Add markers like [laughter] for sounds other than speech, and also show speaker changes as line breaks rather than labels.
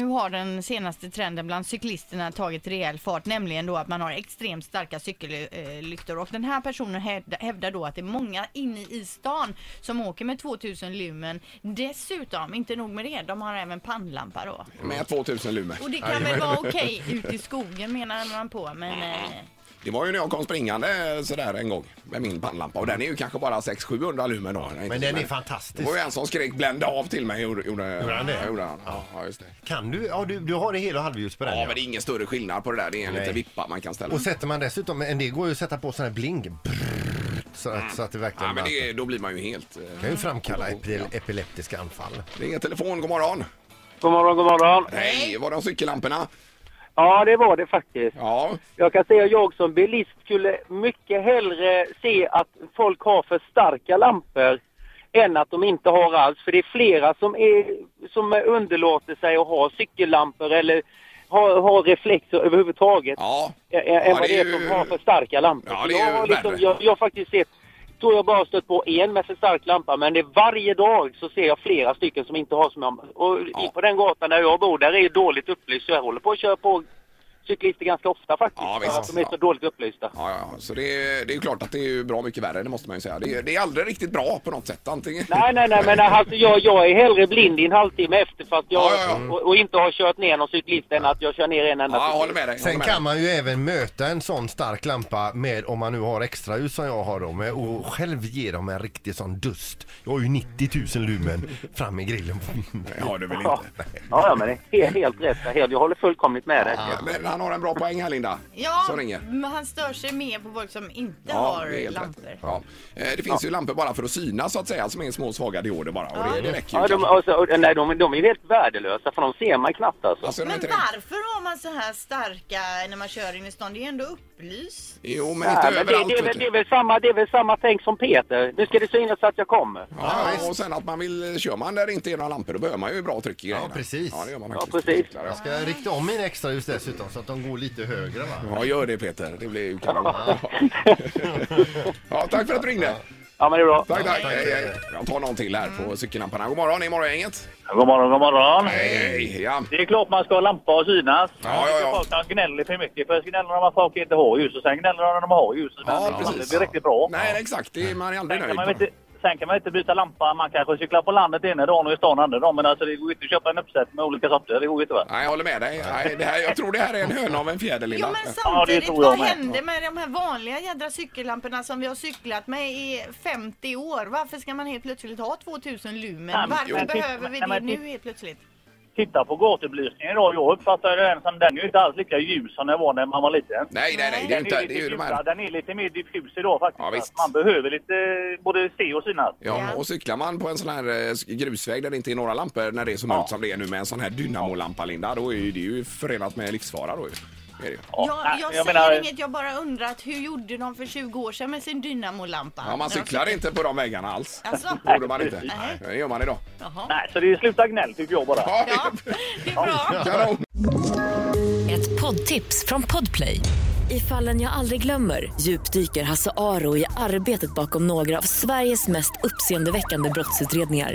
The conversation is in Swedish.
Nu har den senaste trenden bland cyklisterna tagit rejäl fart, nämligen då att man har extremt starka cykellyktor. Och den här personen hävda- hävdar då att det är många inne i stan som åker med 2000 lumen. Dessutom, inte nog med det, de har även pannlampa då.
Mm. Med 2000 lumen.
Och det kan väl vara okej ute i skogen menar man på, men eh,
Det var ju när jag kom springande eh, sådär en gång med min pannlampa och den är ju kanske bara 600-700 lumen då.
Men den är
Det
fantastisk.
var ju en som skrek blända av till mig. Gjorde, gjorde,
Gjorde han det?
Ja, gjorde han. Ja. just det.
Kan du? Ja, du, du har det hel och halvljus på den.
Ja, men det är ingen större skillnad på det där. Det är en
Nej.
liten vippa man kan ställa.
Och sätter man dessutom, en del går ju att sätta på sån här bling. Brrr, så, att, så att det verkligen...
Mm. Ja, men det, då blir man ju helt... eh,
kan ju framkalla epi- epileptiska anfall.
Ring en telefon, god morgon.
God morgon, god morgon.
Hej, var det om cykellamporna?
Ja, det var det faktiskt.
Ja,
Jag kan säga att jag som bilist skulle mycket hellre se att folk har för starka lampor än att de inte har alls. För det är flera som, är, som underlåter sig att ha cykellampor eller ha, ha reflexer överhuvudtaget.
ja.
Ä- ä- Än
Ja,
vad
det
det
är
är som
ju-
har för starka lampor.
Ja,
Så
det är
jag,
ju
har liksom,
värre.
jag, jag har faktiskt sett, tror jag bara stött på en med för stark lampa, men det är varje dag så ser jag flera stycken som inte har som jag. Och i-
Ja.
på den gatan där jag bor, där är ju dåligt upplyst, så jag håller på att köra på cyklister ganska ofta faktiskt.
Ja,
för
visst.
att de är så dåligt upplysta.
Ja, ja, ja. så det, är- det är ju klart att det är ju bra mycket värre, det måste man ju säga. Det, är- det är aldrig riktigt bra på något sätt, antingen...
Nej, nej, nej, men alltså jag, jag är hellre blind i en halvtimme efter för att jag,
Ja, ja, ja.
Och, och inte har kört ner någon cyklist än att jag kör ner en enda
Ja, jag
cyklist.
håller med dig. jag
Sen
håller med
kan man ju även möta en sån stark lampa med, om man nu har extra ljus som jag har då, med, och själv ge dem en riktig sån dust. Jag har ju 90 000 lumen fram i grillen.
dig. Ja, du vill
Ja,
inte.
ja, ja, men det är helt, helt rätt. Helt- Jag håller fullkomligt med dig.
Ja, Men han har en bra poäng här, Linda.
ja,
Som ringer.
men han stör sig mer på folk som inte
det är
har
helt
lampor.
rätt. Ja. Eh, Det finns ju lampor bara för att synas så att säga, som är små svaga dioder bara. Och det, det räcker ju
Ja, de,
kanske.
alltså, och- nej, de, de är ju helt värdelösa för de ser man knappt alltså.
Alltså, de är
Men
inte det.
varför har man så här starka när man kör in i stan? Det är ju ändå upplyst.
Jo, men
Nej,
inte
men det,
överallt.
det, är väl,
vet
det,
du.
är väl samma, det är väl samma tänk som Peter. Nu ska det synas att jag kommer.
Ja, och sen att man vill, kör man där det inte är några lampor då behöver man ju bra tryck i grejerna.
precis.
Ja, det gör man
Ja,
faktiskt.
precis.
Cyklar, ja.
Jag ska rikta om mina extra ljus dessutom så att de går lite högre va?
Ja, gör det Peter. Det blir ju kanon. [laughs] ja, tack för att du ringde.
Ja, men det är bra.
Tack, tack. Hej, hej. Jag tar någon till här på cykellamporna. God morgon, det är morgongänget.
God morgon, god morgon.
Hej, hej. Ja.
Det är klart man ska ha lampa och synas.
Ja, ja, ja.
Folk som gnäller för mycket. Först gnäller de att folk inte har ljus och sen gnäller de när de har ljus. Men
Ja,
det
precis.
blir riktigt bra.
Nej, exakt. Det är man är aldrig
Sen kan,
nöjd.
man väl inte, sen kan man inte byta lampa. Man kanske cyklar på landet ena dagen och i stan andra dagen. Men alltså det går ju inte att köpa en uppsättning med olika sorter. Det går ju inte va?
Nej, jag håller med dig. Nej, det här, jag tror det här är en höna av en fjäder,
Jo
Linda.
men
Ja, det
samtidigt,
tror jag
vad
med.
händer med de här vanliga jädra cykellamporna som vi har cyklat med i 50 år? Varför ska man helt plötsligt ha 2000 lumen?
Nej, men-
Varför
jo.
behöver
Nej,
vi det
men-
nu helt plötsligt?
Titta på gatubelysningen idag. Jag uppfattar den som den är ju inte alls lika ljus som den var när man var liten.
Nej, nej, nej. Det är ju
Den
inte...
är,
Det är ju
lite
de
ljusare.
här...
den är lite mer diffus idag faktiskt.
Ja, visst.
Man behöver lite eh, både se och synas.
Ja, och cyklar man på en sån här eh, grusväg där det inte är några lampor när det är så mörkt som det är nu med en sån här dynamolampa, Linda, då är ju det ju förenat med livsfara då ju. Det är det ju.
nej,
jag jag säger inget, jag bara undrar att hur gjorde de för 20 år sedan med sin dynamolampa?
Ja, man
När de
cyklar inte på de vägarna alls.
Alltså?
Borde man inte.
Nej.
Det gör man idag.
Jaha.
Nej, så det är sluta gnäll tycker jag bara.
Ja, det är bra.
Kanon.
Ett poddtips från Podplay. I fallen jag aldrig glömmer djupdyker Hasse Aro i arbetet bakom några av Sveriges mest uppseendeväckande brottsutredningar.